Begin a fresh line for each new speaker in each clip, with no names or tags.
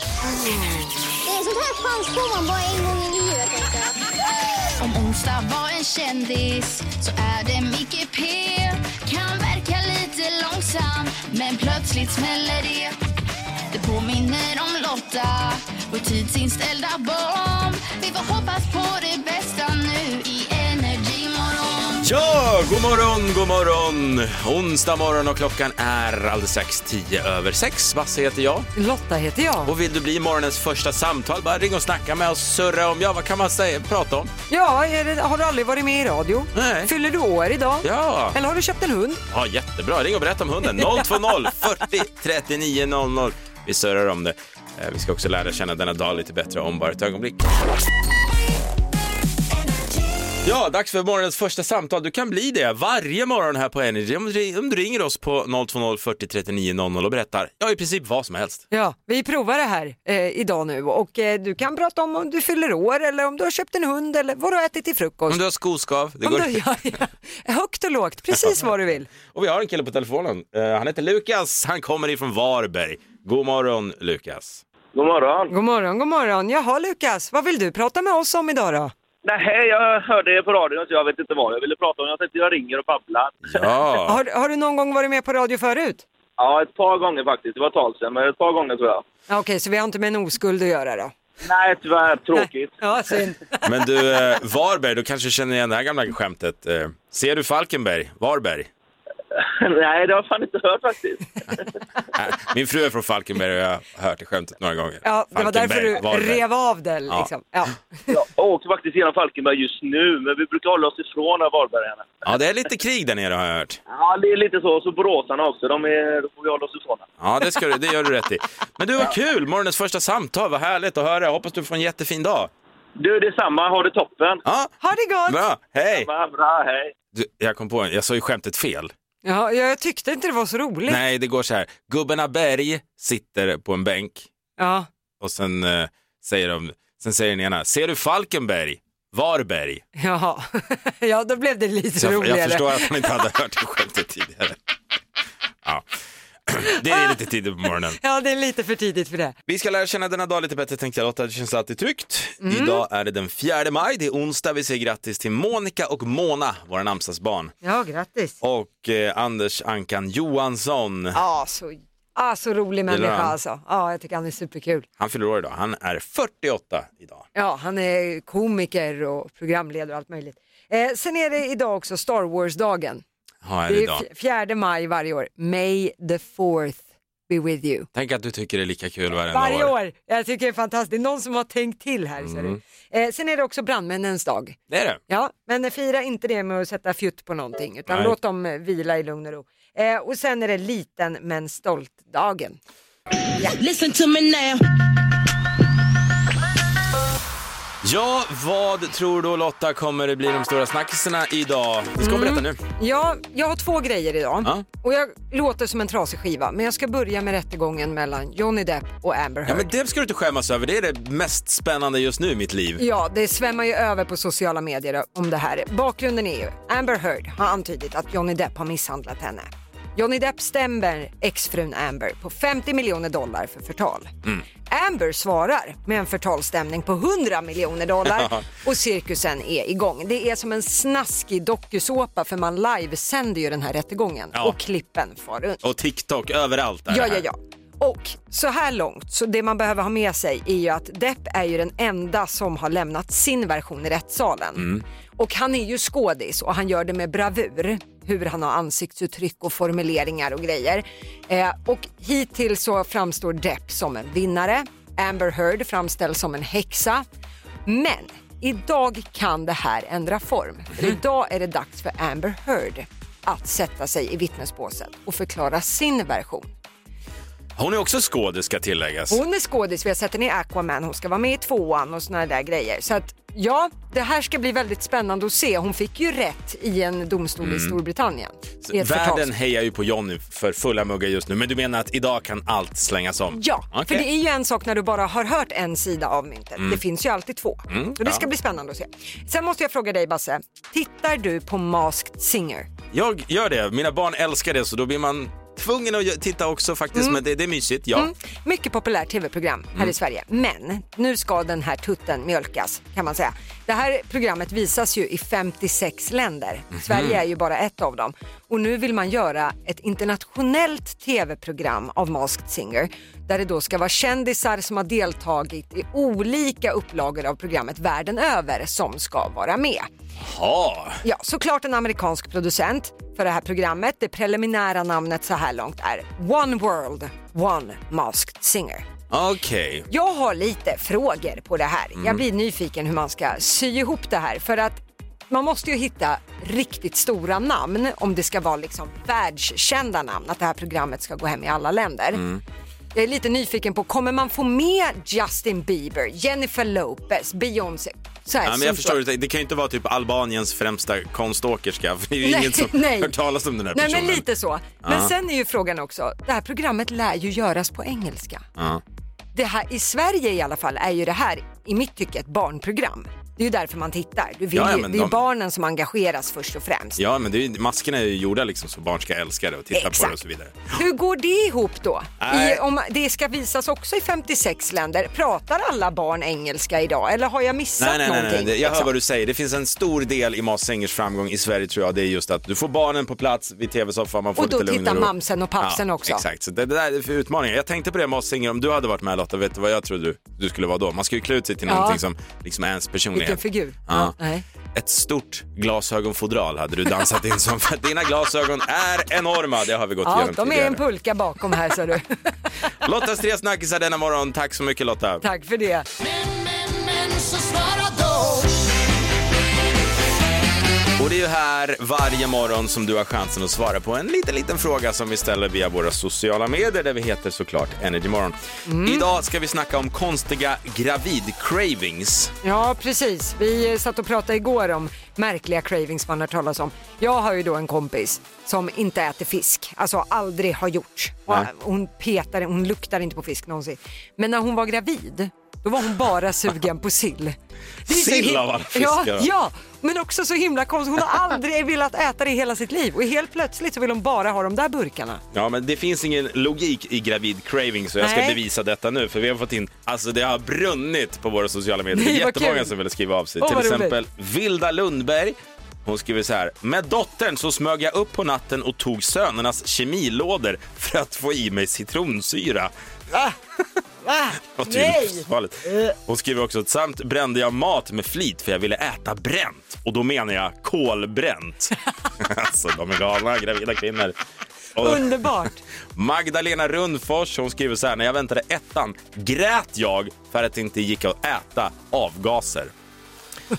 Det är sånt här chans får man bara en gång i livet. tänker jag.
Om onsdag var en kändis så är det Micke P. Kan verka lite långsam men plötsligt smäller det. Det påminner om Lotta, vår tidsinställda bomb. Vi får hoppas på det bästa nu i Energy morgon.
Ja, god morgon, god morgon! Onsdag morgon och klockan är alldeles strax tio över sex. Basse heter jag.
Lotta heter jag.
Och vill du bli morgonens första samtal, bara ring och snacka med oss, surra om, ja vad kan man säga, prata om?
Ja, är det, har du aldrig varit med i radio?
Nej.
Fyller du år idag?
Ja,
Eller har du köpt en hund?
ja jättebra. Ring och berätta om hunden. 020 40 39 00. Vi surrar om det. Eh, Vi ska också lära känna denna dag lite bättre om bara ett ögonblick. Ja, dags för morgonens första samtal. Du kan bli det varje morgon här på Energy om du om du ringer oss på 020 40 39 00 och berättar, ja i princip vad som helst.
Ja, vi provar det här eh, idag nu och eh, du kan prata om om du fyller år eller om du har köpt en hund eller vad du har ätit till frukost.
Om du har skoskav, det
Om
går.
du- ja, ja. Högt och lågt, precis vad du vill.
Och vi har en kille på telefonen. Eh, Han heter Lukas, han kommer ifrån Varberg. God morgon Lukas.
God morgon.
God morgon, god morgon. Jaha Lukas, vad vill du prata med oss om idag då?
Nej, jag hörde er på radion så jag vet inte vad jag ville prata om. Jag tänkte jag ringer och babblar.
Ja,
Har, har du någon gång varit med på radio förut?
Ja, ett par gånger faktiskt. Det var ett tag sedan, men ett par gånger tror jag.
Ja, Okej, så vi har inte med en oskuld att göra då?
Nej, tyvärr. Tråkigt.
Ja, synd.
men du eh, Varberg, du kanske känner igen det här gamla skämtet. Eh, Ser du Falkenberg, Varberg?
Nej, det har jag fan inte hört faktiskt.
Äh, Min fru är från Falkenberg och jag har hört det skämtet några gånger.
Ja, det var därför du
Falkenberg, Varberg.
rev av det liksom. Ja.
Jag åker faktiskt genom Falkenberg just nu, men vi brukar hålla oss ifrån av Varbergarna.
Ja, det är lite krig där nere har jag hört.
Ja, det är lite så. Och så boråsarna också. De är, då får vi hålla oss ifrån.
Ja, det, ska du, det gör du rätt i. Men du, vad kul! Morgonens första samtal, vad härligt att höra. Hoppas du får en jättefin dag.
Du, detsamma. Ha det toppen.
Ja,
Ha det gott!
bra, hej!
Bra, bra hej.
Du, jag kom på en, jag sa ju skämtet fel.
Ja, jag tyckte inte det var så roligt.
Nej, det går så här. Gubben Berg sitter på en bänk
Ja.
och sen eh, säger de, sen säger den ena, ser du Falkenberg? Varberg?
Jaha, ja då blev det lite
Så jag,
roligare.
jag förstår att man inte hade hört det skämtet tidigare. Ja. Det är lite tidigt på morgonen.
Ja, det är lite för tidigt för det.
Vi ska lära känna denna dag lite bättre tänkte jag Lotta, det känns alltid tryggt. Idag är det den 4 maj, det är onsdag, vi säger grattis till Monica och Mona, våra namnsdagsbarn.
Ja, grattis.
Och eh, Anders Ankan Johansson,
Ja, så, ah, så rolig människa
han?
alltså. Ja, jag tycker han är superkul.
han fyller år idag, han är 48 idag.
Ja, han är komiker och programledare och allt möjligt. Eh, sen är det idag också Star Wars-dagen.
Ja, är det
Det är
idag.
fj- fjärde maj varje år. May the fourth be with you.
Tänk att du tycker det är lika kul varenda
Varje
år. Mm.
år. Jag tycker det är fantastiskt. Det är någon som har tänkt till här. ser du. Eh, sen är det också brandmännens dag.
Det är det.
Ja, men fira inte det med att sätta fjutt på någonting utan
Nej.
låt dem eh, vila i lugn och ro. Eh, och sen är det liten men stolt-dagen.
Listen to me now.
Ja, vad tror du Lotta kommer det bli de stora snackisarna idag? Vi ska berätta nu.
Ja, jag har två grejer idag
Ja.
och jag låter som en trasig skiva men jag ska börja med rättegången mellan Johnny Depp och Amber
Ja,
Heard. Ja,
men det ska du inte skämmas över, det är det mest spännande just nu i mitt liv.
det svämmar ju över på sociala medier om det här. Bakgrunden är ju Amber Heard har antydit att Johnny Depp har misshandlat henne. Johnny Depp stämmer exfrun Amber på 50 miljoner dollar för förtal. Amber svarar med en förtalsstämning på 100 miljoner dollar och cirkusen är igång. Det är som en snaskig dokusåpa för man livesänder ju den här rättegången
Ja.
och klippen far runt.
Och TikTok, överallt är
Ja,
det
ja,
här.
ja. Och så här långt, så det man behöver ha med sig är ju att Depp är ju den enda som har lämnat sin version i rättssalen.
Mm.
Och han är ju skådis och han gör det med bravur, hur han har ansiktsuttryck och formuleringar och grejer. Eh, och hittills så framstår Depp som en vinnare, Amber Heard framställs som en häxa. Men idag kan det här ändra form. För idag är det dags för Amber Heard att sätta sig i vittnesbåset och förklara sin version.
Hon är också skådis ska tilläggas.
Hon är skådis, vi har sett henne i Aquaman, hon ska vara med i tvåan och såna där grejer. Så att ja, det här ska bli väldigt spännande att se. Hon fick ju rätt i en domstol i Storbritannien. I ett förtals-
Mm. Världen hejar ju på Johnny för fulla muggar just nu, men du menar att idag kan allt slängas om?
Ja, för
Okej. Mm.
det är ju en sak när du bara har hört en sida av myntet. Det finns ju alltid två. så det ska bli spännande att se. Sen måste jag fråga dig Basse, tittar du på Masked Singer?
Jag gör det, mina barn älskar det så då blir man tvungen att gö- titta också faktiskt, men det, det är mysigt. Ja.
Mm. Mycket populärt tv-program här i Sverige. Men nu ska den här tutten mjölkas kan man säga. Det här programmet visas ju i 56 länder. Sverige är ju bara ett av dem. Och nu vill man göra ett internationellt tv-program av Masked Singer där det då ska vara kändisar som har deltagit i olika upplagor av programmet världen över som ska vara med.
Ja.
Ja, såklart en amerikansk producent för det här programmet. Det preliminära namnet så här långt är One World, One Masked Singer.
Okej.
Jag har lite frågor på det här.
Mm.
Jag blir nyfiken hur man ska sy ihop det här för att man måste ju hitta riktigt stora namn om det ska vara liksom världskända namn, att det här programmet ska gå hem i alla länder.
Mm.
Jag är lite nyfiken på, kommer man få med Justin Bieber, Jennifer Lopez, Beyoncé? Så här,
Ja, men
som
jag
så-
förstår, det, det kan ju inte vara typ Albaniens främsta konståkerska, för det är ju
Nej,
ingen som
nej.
hört talas om den här
Nej
personen.
men lite så. Men
Ja.
sen är ju frågan också, det här programmet lär ju göras på engelska.
Ja.
Det här, I Sverige i alla fall är ju det här i mitt tycke ett barnprogram. Det är ju därför man tittar. Du vill
Ja, ja,
ju,
men
det är ju
de-
barnen som engageras först och främst.
Ja, men det är, ju- maskerna är ju gjorda liksom så barn ska älska det och titta på det och så vidare.
Hur går det ihop då? I,
Nej.
om det ska visas också i 56 länder. Pratar alla barn engelska idag eller har jag missat
Nej, nej, nej,
någonting?
nej, nej, jag hör
liksom?
vad du säger. Det finns en stor del i Mas Singers framgång i Sverige tror jag, det är just att du får barnen på plats vid tv-soffan, man får
Och då
lite lugn
tittar
ro.
mamsen och pappsen
ja,
också.
Exakt, så det, det där är för utmaningar. Jag tänkte på det Mas Singer, om du hade varit med Lotta, vet du vad jag trodde du, du skulle vara då? Man ska ju klä ut sig till
Ja.
någonting som liksom är ens personlighet.
Vilken figur.
Ja.
Nej.
Ett stort glasögonfodral hade du dansat in som, för dina glasögon är enorma, det har vi gått
Ja,
igenom
de är
tidigare.
en pulka bakom här så du.
Lottas tre snackisar denna morgon, tack så mycket Lotta.
Tack för det.
Men, men, men, så svara då.
Och det är ju här varje morgon som du har chansen att svara på en liten, liten fråga som vi ställer via våra sociala medier där vi heter såklart Energymorgon.
Mm.
Idag ska vi snacka om konstiga gravid-cravings.
Ja, precis. Vi eh, satt och pratade igår om märkliga cravings man har talas om. Jag har ju då en kompis som inte äter fisk, alltså aldrig har gjort. Och
Nej.
Hon petar, hon luktar inte på fisk någonsin. Men när hon var gravid, då var hon bara sugen på sill. Det är så
Sill
him-
av alla fiskar,
Ja,
va?
ja, men också så himla konstigt. Hon har aldrig velat äta det i hela sitt liv och helt plötsligt så vill hon bara ha de där burkarna.
Ja, men det finns ingen logik i gravid-cravings och jag ska
Nej.
bevisa detta nu för vi har fått in, alltså det har brunnit på våra sociala medier. Det är
Nej, vad
jättemånga
kul.
som ville skriva av sig.
Åh,
Till
vad roligt.
exempel Vilda Lundberg. Hon skriver så här. Med dottern så smög jag upp på natten och tog sönernas kemilådor för att få i mig citronsyra.
Ah,
Och det är livsfarligt. Hon skriver också att samt brände jag mat med flit för jag ville äta bränt. Och då menar jag kolbränt. alltså de är galna, gravida kvinnor. Och
Underbart!
Magdalena Rundfors hon skriver så här, när jag väntade ettan grät jag för att det inte gick att äta avgaser.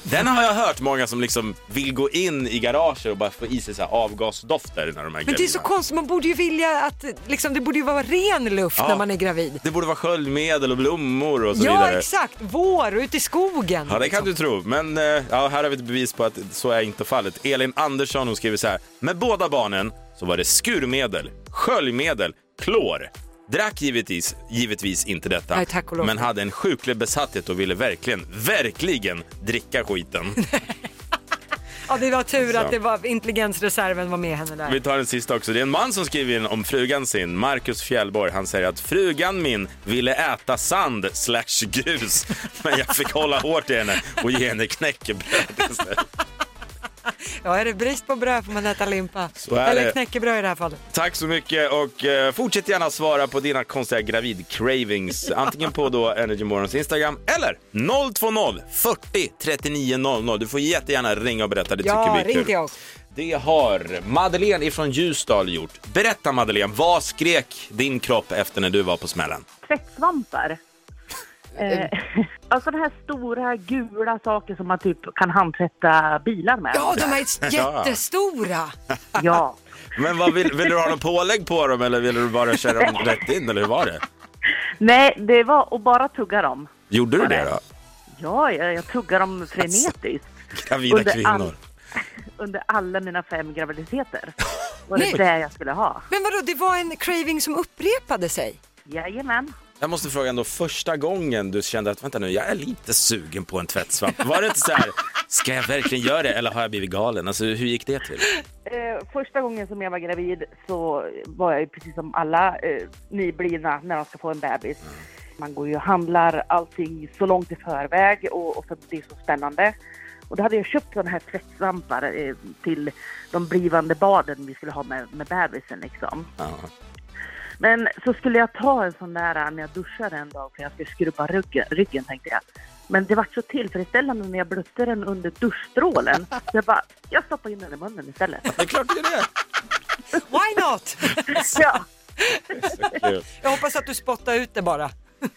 Den har jag hört många som liksom vill gå in i garager och bara få i sig så här avgasdofter när de är
Men det är så konstigt, man borde ju vilja att liksom, det borde ju vara ren luft
Ja.
när man är gravid.
Det borde vara sköljmedel och blommor och så
ja,
vidare.
exakt. Vår och ute i skogen.
Ja, det kan
Liksom.
du tro. Men eh, ja, här har vi ett bevis på att så är inte fallet. Elin Andersson hon skriver så här. Med båda barnen så var det skurmedel, sköljmedel, klor. Drack givetvis, givetvis inte detta,
Nej, tack och lov.
men hade en sjuklig besatthet och ville verkligen, verkligen dricka skiten.
Ja, det var tur
Så.
att det var intelligensreserven var med henne där.
Vi tar den sista också. Det är en man som skriver in om frugan sin, Marcus Fjällborg. Han säger att frugan min ville äta sand slash grus, men jag fick hålla hårt i henne och ge henne knäckebröd istället.
Ja, är det brist på bröd får man äta limpa.
Så är
Eller
det.
knäckebröd i det här fallet.
Tack så mycket och eh, fortsätt gärna svara på dina konstiga gravid-cravings. Antingen på då Energy Morgons Instagram eller 020 40 39 00. Du får jättegärna ringa och berätta, det
Ja,
tycker vi är
ring
kul.
till oss.
Det har Madeleine ifrån Ljusdal gjort. Berätta Madeleine, vad skrek din kropp efter när du var på smällen?
tvättsvampar. Eh, alltså den här stora gula saker som man typ kan handtvätta bilar med.
Ja, de är s- jättestora.
Ja.
Men vad vill, vill du ha någon pålägg på dem eller ville du bara köra dem rätt in eller hur var det?
Nej, det var att bara tugga dem.
Gjorde du det då?
Ja, jag, jag tuggar dem
Alltså,
frenetiskt.
Gravida
all,
kvinnor.
under alla mina fem graviditeter. Var
Nej.
det det jag skulle ha?
Men vadå, det var en craving som upprepade sig?
Jajamän.
Jag måste fråga ändå, första gången du kände att vänta nu, jag är lite sugen på en tvättsvamp. Var det inte så här, ska jag verkligen göra det eller har jag blivit galen? Alltså hur gick det till?
Eh, eh, första gången som jag var gravid så var jag ju precis som alla eh, nyblivna när de ska få en bebis. Man går ju och handlar allting så långt i förväg och, och för det är så spännande. Och då hade jag köpt sådana här tvättsvampar eh, till de blivande baden vi skulle ha med, med bebisen liksom. Men så skulle jag ta en sån där eh, när jag duschar en dag för jag ska skrubba ryggen, ryggen tänkte jag. Men det var så tillfredsställande när jag blötte den under duschstrålen. Så jag bara, jag stoppar in den i munnen istället.
Det är klart det är det.
Why not?
Ja,
Jag hoppas att du spottar ut det bara.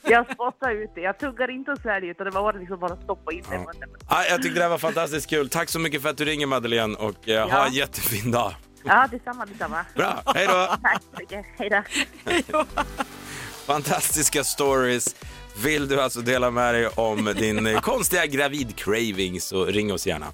jag spottade ut det. Jag tuggar inte och sväljer utan det var liksom bara att stoppa in det i munnen.
Ja, jag tyckte det här var fantastiskt kul. Tack så mycket för att du ringer Madeleine och eh, ha en jättefin dag.
Ja, detsamma, detsamma.
Bra, hej då!
Tack så mycket. Hej då.
Fantastiska stories. Vill du alltså dela med dig om din eh, konstiga gravid-craving så ring oss gärna.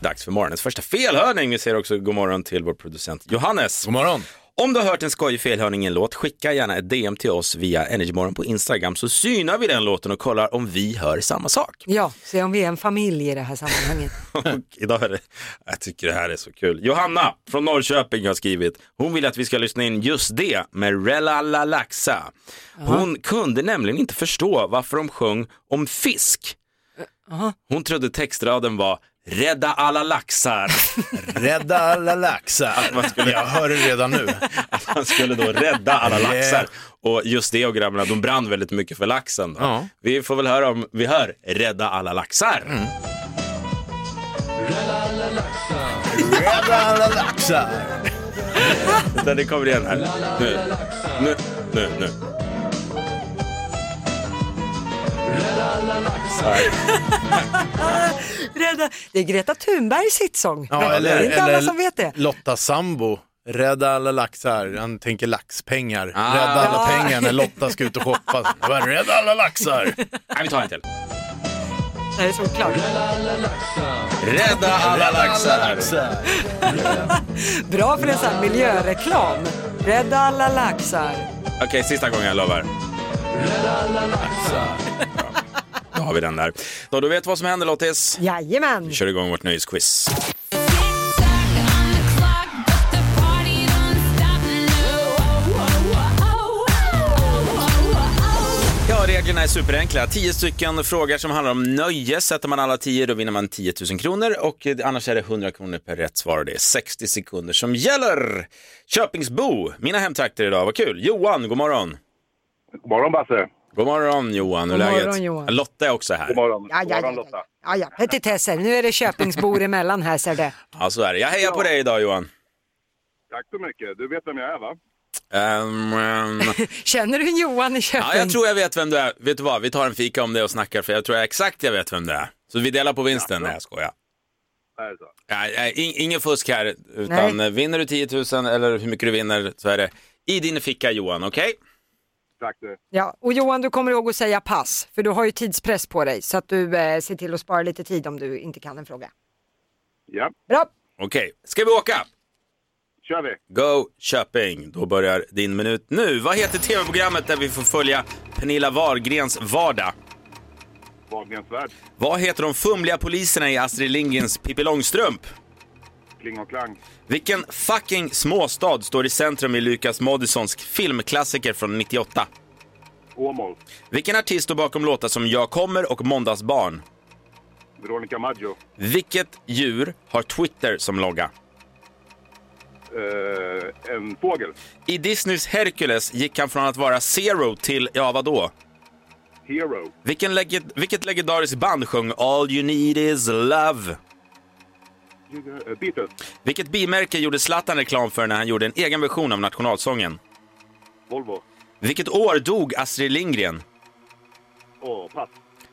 Dags för morgonens första felhörning. Vi säger också god morgon till vår producent Johannes.
God morgon.
Om du har hört en skojig felhörning i en låt, skicka gärna ett DM till oss via Energymorgon på Instagram så synar vi den låten och kollar om vi hör samma sak.
Ja, se om vi är en familj i det här sammanhanget.
Och idag är det, jag tycker det här är så kul. Johanna från Norrköping har skrivit, hon vill att vi ska lyssna in just det med Rella La Laxa. Hon kunde nämligen inte förstå varför de sjöng om fisk. Hon trodde textraden var Rädda alla laxar.
Rädda alla laxar. Jag hör det redan nu.
Att han skulle då rädda alla laxar. Och just det och grabbarna, de brann väldigt mycket för laxen. Då.
Ja.
Vi får väl höra om vi hör Rädda alla laxar.
Rädda alla laxar.
Vänta, det kommer igen här. Nu, nu, nu, nu.
Rädda. Det är Greta Thunbergs hitsång.
Ja, eller,
det är inte alla
eller
som vet det.
Lotta Sambo. Rädda alla laxar, han tänker laxpengar.
Ah.
Rädda alla
Ja.
pengar när Lotta ska ut och shoppa. Jag bara, Rädda alla laxar!
Nej, vi tar en till.
Det är såklart.
Rädda alla laxar.
Bra för en sån här miljöreklam. Rädda alla laxar.
Okej, sista gången jag lovar. Bra. Då har vi den där. Då du vet vad som händer Lottis.
Jajamän.
Vi kör igång vårt nöjesquiz. Ja, reglerna är superenkla. Tio stycken frågor som handlar om nöje. Sätter man alla tio då vinner man 10 000 kronor och eh, annars är det 100 kronor per rätt svar och det är 60 sekunder som gäller. Köpingsbo, mina hemtrakter idag, vad kul. Johan, god morgon.
God morgon Basse.
God morgon Johan, hur
God
är läget?
morgon, Johan.
Lotta är också här.
God morgon.
Ja,
God
ja,
morgon
ja,
Lotta.
ja. ja, ja. Petitesser, nu är det Köpingsbor emellan här ser det.
Ja, så är det. Jag hejar på dig idag Johan.
Tack så mycket. Du vet vem jag är va?
Ehm, ehm,
Känner du Johan i Köping?
ja, jag tror jag vet vem du är. Vet du vad, vi tar en fika om det och snackar för jag tror jag exakt jag vet vem det är. Så vi delar på vinsten. Nej, jag skojar.
Är det så?
Nej, nej, in, ingen fusk här, utan
Nej.
eh, vinner du 10 000 eller hur mycket du vinner så är det i din ficka Johan, okej?
Tack du.
Ja, och Johan, du kommer ihåg att säga pass, för du har ju tidspress på dig, så att du eh, ser till att spara lite tid om du inte kan en fråga.
Ja,
Bra!
Okej, ska vi åka?
kör vi.
Go Köping! Då börjar din minut nu. Vad heter tv-programmet där vi får följa Pernilla Wahlgrens vardag?
Wahlgrens värld.
Vad heter de fumliga poliserna i Astrid Lindgrens Pippi Långstrump?
Kling och klang.
Vilken fucking småstad står i centrum i Lukas Moodyssons filmklassiker från 98?
Åmål.
Vilken artist står bakom låtar som Jag kommer och Måndagsbarn?
Veronica Maggio.
Vilket djur har Twitter som logga?
Eh, en fågel.
I Disneys Hercules gick han från att vara Zero till, ja vadå?
Hero.
Vilken lege- vilket legendariskt band sjöng All you need is love?
Eh, Beatles.
Vilket bimärke gjorde Zlatan reklam för när han gjorde en egen version av nationalsången?
Volvo.
Vilket år dog Astrid Lindgren?
Åh, pass.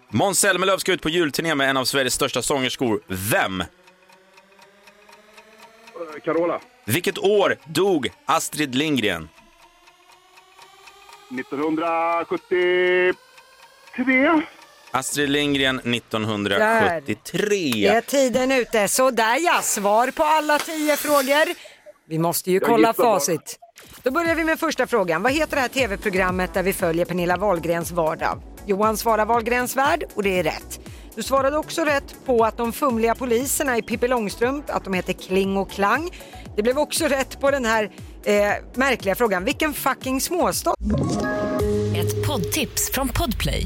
Måns Zelmerlöw ska ut på julturné med en av Sveriges största sångerskor. Vem?
Eh, Carola.
Vilket år dog Astrid Lindgren?
1973.
Astrid Lindgren 1973.
Det är tiden ute. Sådär ja, svar på alla tio frågor. Vi måste ju kolla
gissar bara.
facit. Då börjar vi med första frågan. Vad heter det här tv-programmet där vi följer Pernilla Wahlgrens vardag? Johan svarar Wahlgrens värld och det är rätt. Du svarade också rätt på att de fumliga poliserna i Pippi Långstrump, att de heter Kling och Klang. Det blev också rätt på den här eh, märkliga frågan. Vilken fucking småstad
Ett poddtips från Podplay.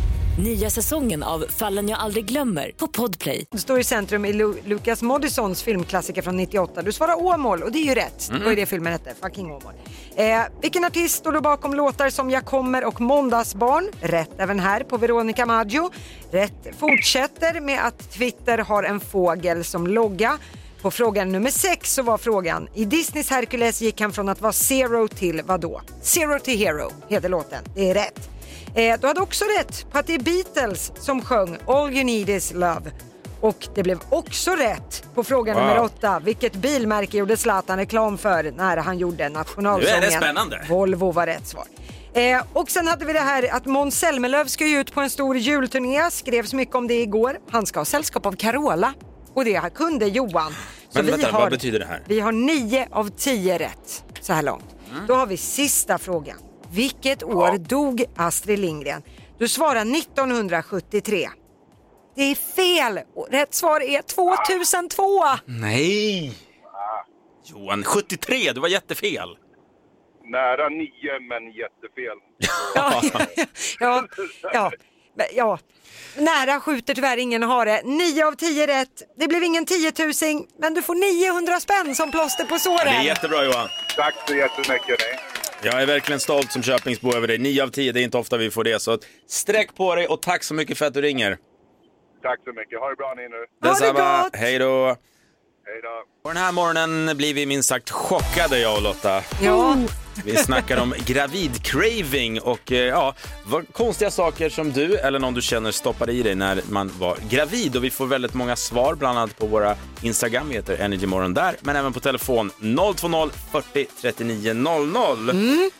Nya säsongen av Fallen jag aldrig glömmer på Podplay.
Du står i centrum i Lu- Lukas Moodyssons filmklassiker från 98. Du svarar Åmål och det är ju rätt. Det var ju det filmen hette, fucking Åmål. Eh, vilken artist står då bakom låtar som Jag kommer och Måndagsbarn? Rätt även här på Veronica Maggio. Rätt fortsätter med att Twitter har en fågel som logga. På frågan nummer sex så var frågan, i Disneys Hercules gick han från att vara zero till vadå? Zero till hero heter låten, det är rätt. Eh, du hade också rätt på att det är Beatles som sjöng All You Need Is Love. Och det blev också rätt på fråga
Wow.
nummer åtta. Vilket bilmärke gjorde Zlatan reklam för när han gjorde nationalsången?
Nu är det spännande.
Volvo var rätt svar. Eh, och sen hade vi det här att Måns Zelmerlöw ska ju ut på en stor julturné. Skrevs mycket om det igår. Han ska ha sällskap av Carola. Och det här kunde Johan. Så
Men vänta, vad betyder det här?
Vi har nio av tio rätt så här långt.
Mm.
Då har vi sista frågan. Vilket år dog Astrid Lindgren? Du svarar 1973. Det är fel! Och Rätt svar är 2002!
Nej! Johan, 73, du var jättefel.
Nära nio, men jättefel.
Ja, ja, ja, men ja. Nära skjuter tyvärr ingen har det. 9 av 10 rätt. Det blev ingen 10 000 men du får 900 spänn som plåster på
Det är
såren.
jättebra Johan.
Tack så jättemycket. Nej.
Jag är verkligen stolt som Köpingsbo över dig. 9 av 10, det är inte ofta vi får det. Så att sträck på dig och tack så mycket för att du ringer.
Tack så mycket. Ha det bra ni nu.
Detsamma. Hej då.
Hej då.
Och den här morgonen blir vi minst sagt chockade jag och Lotta.
Ja,
Vi snackar om gravidcraving och eh, ja, vad konstiga saker som du eller någon du känner stoppade i dig när man var gravid. Och vi får väldigt många svar, bland annat på våra Instagram, vi heter Energymorgon där, men även på telefon 020 40 39 00.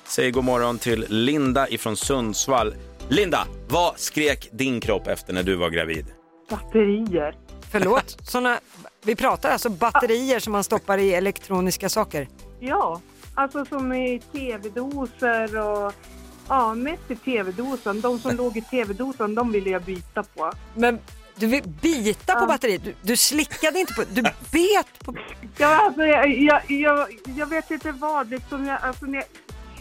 Säg god morgon till Linda ifrån Sundsvall. Linda, vad skrek din kropp efter när du var gravid?
Batterier.
förlåt. Såna, vi pratar alltså batterier som man stoppar i elektroniska saker.
Ja, alltså som i tv-doser och ja, mest i tv-dosen. De som låg i tv-dosen, de ville jag byta på.
Men du vill bita på batteriet. Du, du slickade inte på... Du bet på...
Ja, alltså, jag, jag, jag, jag vet inte vad, liksom jag, alltså, när jag,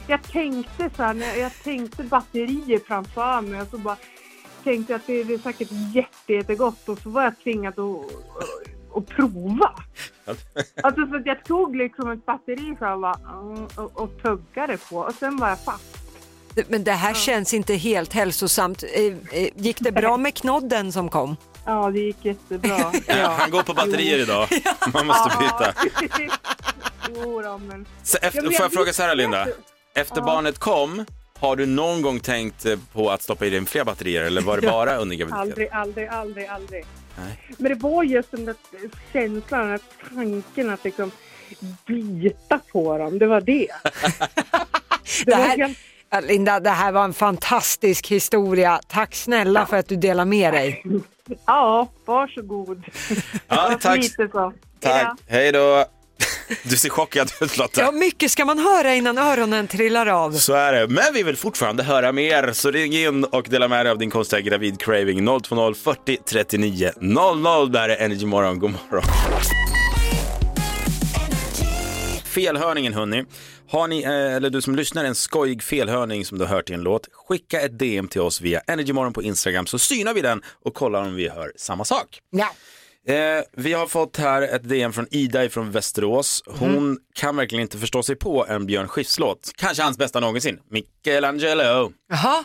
jag tänkte så här, när jag, jag tänkte batterier framför mig och så bara tänkte jag att det, det är säkert jätte, jättegott och så var jag tvingad att, att prova. Alltså så att jag tog liksom ett batteri så här bara, mm, och, och tuggade på och sen var jag fast.
Men det här känns inte helt hälsosamt. Eh, eh, Gick det bra med knodden som kom?
Ja, det gick jättebra.
Ja, han går på batterier idag. Man måste byta.
Jo då, men...
Så efter,
Ja,
får
men
jag
jag
fråga
visste
så här, Linda?
att-
Efter
Ja.
barnet kom, har du någon gång tänkt eh, på att stoppa i dig fler batterier eller var det bara under graviditeten?
Aldrig, aldrig, aldrig, aldrig.
Nej.
Men det var just den där känslan, den där tanken att liksom bita på dem, det var det.
Det
var
här,
helt-
Ja, Linda, det här var en fantastisk historia. Tack snälla för att du delar med dig.
Ja, varsågod.
Ja,
Det var
tack,
lite så.
tack. Hej då. Du ser chockad ut
Ja,
Lotta.
mycket ska man höra innan öronen trillar av.
Så är det. Men vi vill fortfarande höra mer, så ring in och dela med dig av din konstiga gravidcraving. 020 40 39 00. Där är Energy Morgon. God morgon. Felhörningen hörni. Har ni, eh, eller du som lyssnar, en skojig felhörning som du har hört i en låt, skicka ett DM till oss via Energymorgon på Instagram så synar vi den och kollar om vi hör samma sak.
Ja.
Eh, vi har fått här ett DM från Ida från Västerås. Hon kan verkligen inte förstå sig på en Björn Skifs-låt. Kanske hans bästa någonsin. Michelangelo.
Jaha,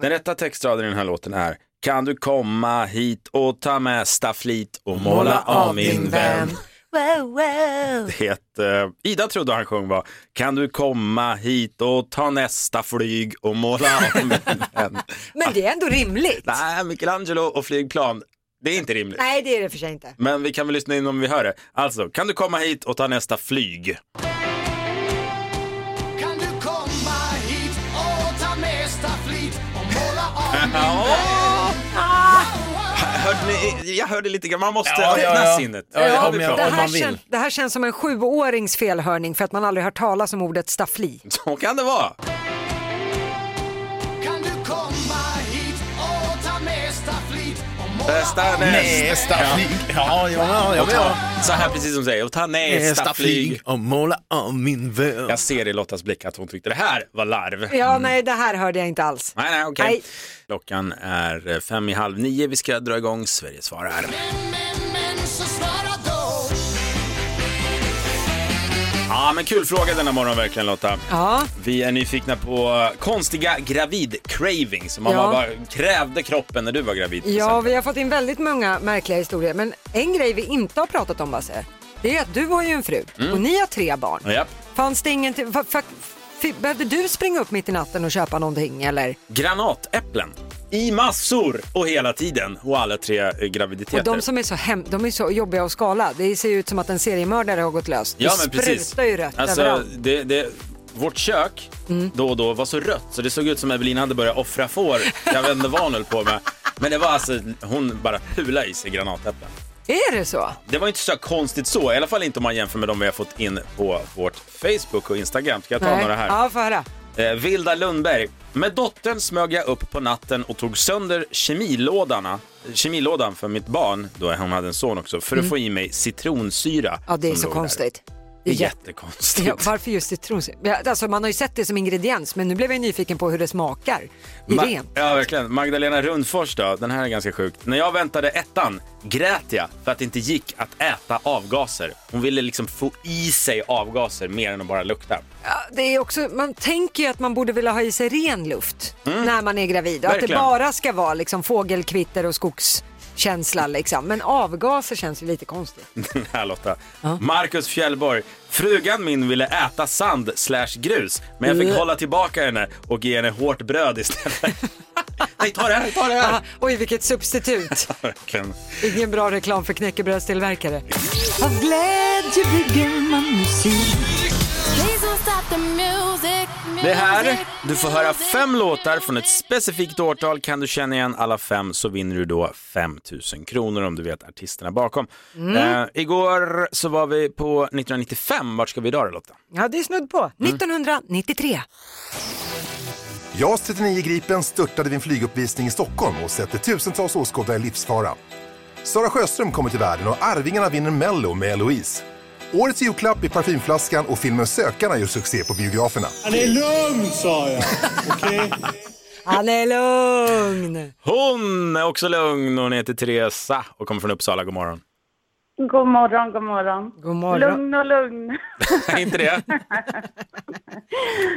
Den rätta textraden i den här låten är Kan du komma hit och ta med stafflit och måla av min vän.
wow, wow.
Det eh, Ida trodde han sjöng var Kan du komma hit och ta nästa flyg och måla om en
Men det är ändå rimligt.
Nej, Michelangelo och flygplan, det är inte rimligt.
Nej, det är det för sig inte.
Men vi kan väl lyssna in om vi hör det. Alltså, kan du komma hit och ta nästa flyg?
Kan du komma hit och ta nästa flit och måla om min
Ja.
värld?
Hörde ni, jag hörde lite grann, man måste
Ja,
öppna
ja, ja.
sinnet.
Ja, ja,
Det har
om
vi
jag-
pratat
Det
om.
här, kän, det här känns som en sjuårings felhörning för att man aldrig hört talas om ordet staffli.
Så kan det vara.
Kan du komma hit och ta nästa flit och
Nästa, nästa.
Nästa flyg.
Ja,
ja, ja, ja.
Så här precis som du säger, och ta nästa,
Nästa flyg.
flyg. och måla om min värld. Jag ser i Lottas blick att hon tyckte det här var larv.
Ja, nej, det här hörde jag inte alls.
Mm. Nej, nej, okej.
Nej.
Klockan är eh, fem i halv nio. Vi ska dra igång Sverige svarar.
Men så svara då.
Ja, men kul fråga denna morgon verkligen Lotta.
Ja.
Vi är nyfikna på eh, konstiga gravid-cravings. Mamma
Ja.
bara krävde kroppen när du var gravid. till
Ja,
exempel.
vi har fått in väldigt många märkliga historier. Men en grej vi inte har pratat om, Basse, det är att du har ju en fru
Mm.
och ni har tre barn.
Ja.
Fanns det ingen... fa- fa- fi- Behövde du springa upp mitt i natten och köpa någonting eller?
Granatäpplen. I massor och hela tiden och alla tre eh, graviditeter.
Och de som är så, hem, de är så jobbiga att skala. Det ser ju ut som att en seriemördare har gått lös.
Ja,
det
men precis.
sprutar ju rött
Alltså,
överallt. Mm.
det, det, vårt kök då och då var så rött så det såg ut som Evelina hade börjat offra får. Jag vet inte vad hon höll på med. Men det var alltså, hon bara pula i sig granatäpplen.
Är det så?
Det var inte så konstigt så, i alla fall inte om man jämför med de vi har fått in på vårt Facebook och Instagram. Ska jag ta
Nej.
några här?
Ja, få höra.
Eh, Vilda Lundberg. Med dottern smög jag upp på natten och tog sönder kemilådarna, kemilådan för mitt barn, då hon hade en son också, för att
Mm.
få i mig citronsyra.
Ja, det är
som
så
låg där.
konstigt.
Det är
Jätte-
jättekonstigt.
Ja, varför just citronsyra? Ja, Alltså, man har ju sett det som ingrediens, men nu blev jag nyfiken på hur det smakar. I
Ma-
rent.
ja, verkligen. Magdalena Rundfors då, den här är ganska sjuk. När jag väntade ettan grät jag för att det inte gick att äta avgaser. Hon ville liksom få i sig avgaser mer än att bara lukta.
Ja, Det är också, man tänker ju att man borde vilja ha i sig ren luft när man är gravid och att det
Mm. Verkligen.
bara ska vara liksom fågelkvitter och skogskänsla liksom. Men avgaser känns ju lite konstigt.
Den här Lotta. Marcus Fjällborg. Frugan min ville äta sand slash grus, men jag fick
Mm.
hålla tillbaka henne och ge henne hårt bröd istället. Nej, ta det här, ta det
här! Oj, vilket substitut.
Verkligen.
Ingen bra reklam för knäckebrödstillverkare. Av glädje bygger man musik.
Please don't stop the music,
Det här, du får höra fem låtar från ett specifikt årtal. Kan du känna igen alla fem så vinner du då 5 000 kronor om du vet artisterna bakom.
Mm.
Eh, igår så var vi på 1995. Vart ska vi idag då Lotta?
Ja, det är snudd på.
Mm.
1993.
JAS 39 Gripen störtade vid en flyguppvisning i Stockholm och sätter tusentals åskådare i livsfara. Sara Sjöström kommer till världen och Arvingarna vinner Mello med Eloise. Årets julklapp är parfymflaskan och filmen Sökarna gör succé på biograferna.
Han är lugn sa jag. Okej?
Han är lugn.
Hon är också lugn. Hon heter Teresa och kommer från Uppsala. God morgon.
God morgon, god morgon.
God morgon.
Lugn och lugn.
inte det?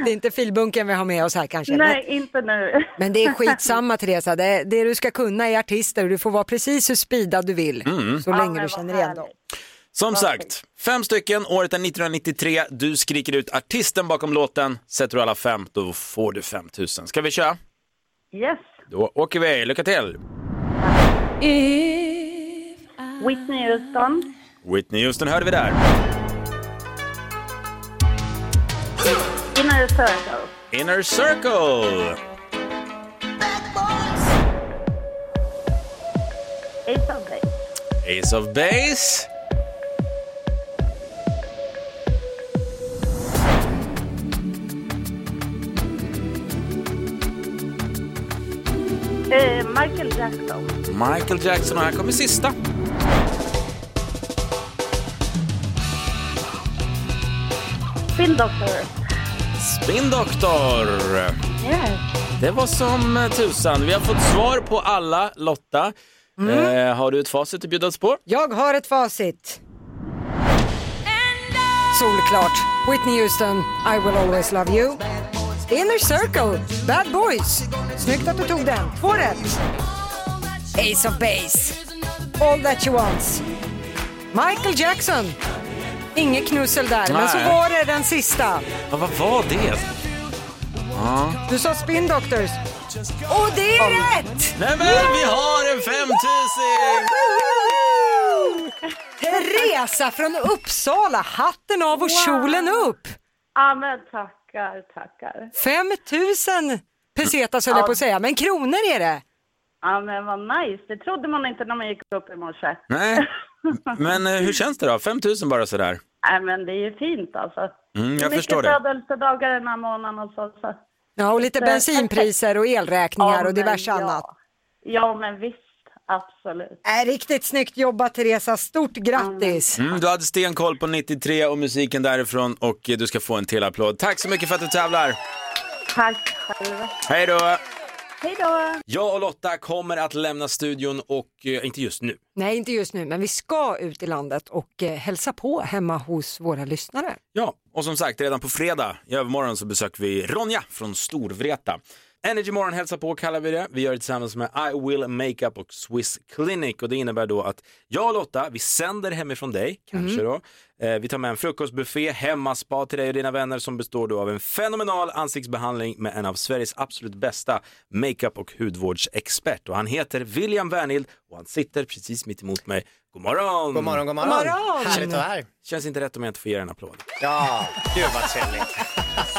Det är inte filbunken vi har med oss här kanske.
Nej, inte nu.
Men det är skitsamma Teresa, det, det du ska kunna är artister och du får vara precis hur speedad du vill
Mm.
så
Ja,
länge du känner igen dem.
Som sagt, fem stycken. Året är 1993. Du skriker ut artisten bakom låten. Sätter du alla fem, då får du 5 000. Ska vi köra?
Yes.
Då åker vi. Lycka till!
Whitney Houston.
Whitney Houston hörde vi där.
Inner Circle.
Inner Circle. Ace
Ace of Base.
of Base.
Eh, Michael Jackson.
Michael Jackson och här kommer sista.
Spin Doctor.
Spin Doctor.
Yes.
Det var som eh, tusan. Vi har fått svar på alla, Lotta. Eh, har du ett facit att bjuda oss på?
Jag har ett facit. Solklart. Whitney Houston, I will always love you. Inner Circle, Bad Boys. Snyggt att du tog den. Två rätt. Ace of Base, All That She Wants. Michael Jackson, Inget knussel där, men så
Nej.
var det den sista.
Ja, vad var det? Ja.
Du sa Spin Doctors. Och det är rätt!
Nej men vi har en femtusing!
Teresa från Uppsala, hatten av och kjolen upp!
Ja, men tackar, tackar.
5000 pesetas höll jag på att säga, men kronor är det.
Ja, men vad nice. Det trodde man inte när man gick upp i morse.
Nej, men eh, hur känns det då? 5000 bara sådär.
Nej, men det är ju fint alltså.
Mm, jag
Det är
förstår det.
Mycket födelsedagar den här månaden alltså. Så.
Ja, och lite
Så-
bensinpriser och elräkningar
Ja,
och diverse
men ja.
annat.
Ja, men visst. Absolut.
Äh, riktigt snyggt jobbat Teresa, stort grattis!
Mm, du hade stenkoll på 93 och musiken därifrån och eh, du ska få en till applåd. Tack så mycket för att du tävlar.
Tack själva.
Hej då!
Hej då!
Jag och Lotta kommer att lämna studion och, eh, inte just nu,
Nej, inte just nu, men vi ska ut i landet och eh, hälsa på hemma hos våra lyssnare.
Ja, och som sagt, redan på fredag i övermorgon så besöker vi Ronja från Storvreta. Energy Morgon hälsar på kallar vi det. Vi gör det tillsammans med I Will Makeup och Swiss Clinic och det innebär då att jag och Lotta, vi sänder hemifrån dig, kanske
Mhm.
då. Eh, vi tar med en frukostbuffé, hemmaspa till dig och dina vänner som består då av en fenomenal ansiktsbehandling med en av Sveriges absolut bästa makeup och hudvårdsexpert och han heter William Wernhild och han sitter precis mitt emot mig. God morgon!
God morgon, god morgon. God morgon! Härligt att vara här.
Känns inte rätt om jag inte får ge er en applåd.
Ja, gud vad trevligt.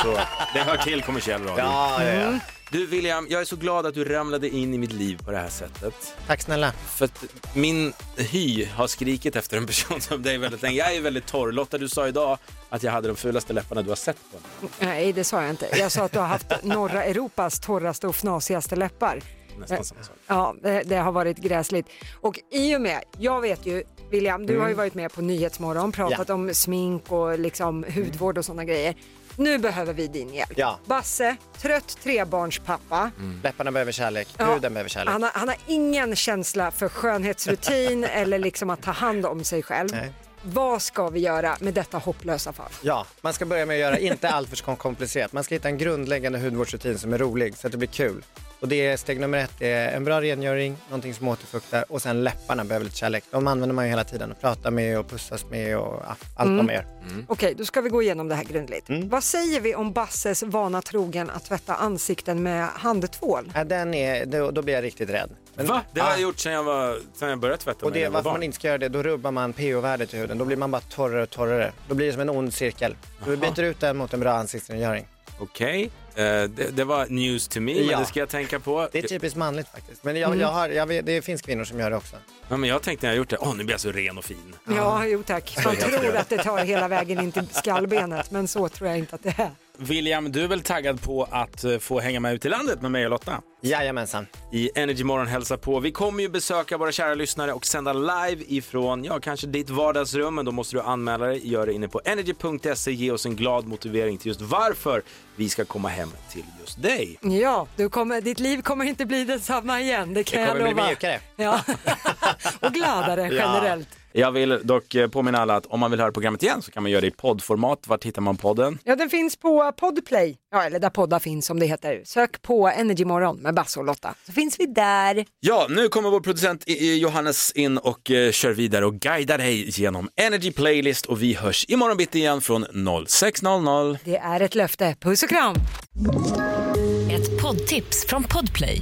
Så det hör till kommersiell radio.
Ja, ja, ja. Mm.
Du William, jag är så glad att du ramlade in i mitt liv på det här sättet.
Tack snälla.
För att min hy har skrikit efter en person som dig väldigt länge. Jag är väldigt torr. Lotta, du sa idag att jag hade de fulaste läpparna du har sett på mig.
Nej, det sa jag inte. Jag sa att du har haft norra Europas torraste och fnasigaste läppar.
Nästan samma sak.
Ja, det, det har varit gräsligt. Och i och med, jag vet ju, William, du
Mm.
har ju varit med på Nyhetsmorgon, pratat om smink och liksom hudvård och sådana grejer. Nu behöver vi din hjälp.
Mm. Ja. Mm.
Basse, trött trebarnspappa.
Läpparna behöver kärlek,
Ja.
huden behöver kärlek.
Han har, han har ingen känsla för skönhetsrutin eller liksom att ta hand om sig själv.
Nej.
Vad ska vi göra med detta hopplösa fall?
Ja, man ska börja med att göra inte alltför kom- komplicerat. Man ska hitta en grundläggande hudvårdsrutin som är rolig så att det blir kul. Och det är steg nummer ett, det är en bra rengöring, någonting som återfuktar och sen läpparna behöver lite kärlek. De använder man ju hela tiden och pratar med och pussas med och ja, allt
Mm.
vad man gör.
Okej, då ska vi gå igenom det här grundligt. Vad säger vi om Basses vana trogen att tvätta ansikten med handtvål?
Ja, den är, då, då blir jag riktigt rädd.
Va? Det har
Ja.
jag gjort sedan jag, var, sedan jag började tvätta mig.
Och
när
det,
jag var
varför man
barn.
inte ska göra det, då rubbar man pH-värdet i huden. Då blir man bara torrare och torrare. Då blir det som en ond cirkel. Så vi byter ut den mot en bra ansiktsrengöring.
Okej, eh, det, det var news to me,
Ja.
men det ska jag tänka på.
Det är typ- typiskt manligt faktiskt. Men jag,
Mm.
jag har, jag vet, det finns kvinnor som gör det också.
Ja, men jag tänkte när jag gjort det, åh nu blir jag så ren och fin.
Ja, jo tack. Man tror att det tar hela vägen in till skallbenet, men så tror jag inte att det är.
William, du är väl taggad på att eh, få hänga med ut i landet med mig och Lotta?
Jajamensan.
I Energy Morgon hälsa på. Vi kommer ju besöka våra kära lyssnare och sända live ifrån, ja, kanske ditt vardagsrum, men då måste du anmäla dig. Gör det inne på energy.se. Ge oss en glad motivering till just varför vi ska komma hem till just dig.
Ja, du kommer, ditt liv kommer inte bli detsamma igen, det kan
Det kommer
jag
bli
lova.
mjukare.
Ja. Och gladare generellt.
Jag vill dock eh, påminna alla att om man vill höra programmet igen så kan man göra det i poddformat. Vart hittar man podden?
Ja, den finns på Podplay, ja, eller där poddar finns som det heter. Sök på Energymorgon med Basse och Lotta, så finns vi där.
Ja, nu kommer vår producent eh, eh, Johannes in och eh, kör vidare och guidar dig genom Energy Playlist och vi hörs imorgon bitti igen från 06.00.
Det är ett löfte. Puss och kram!
Ett poddtips från Podplay.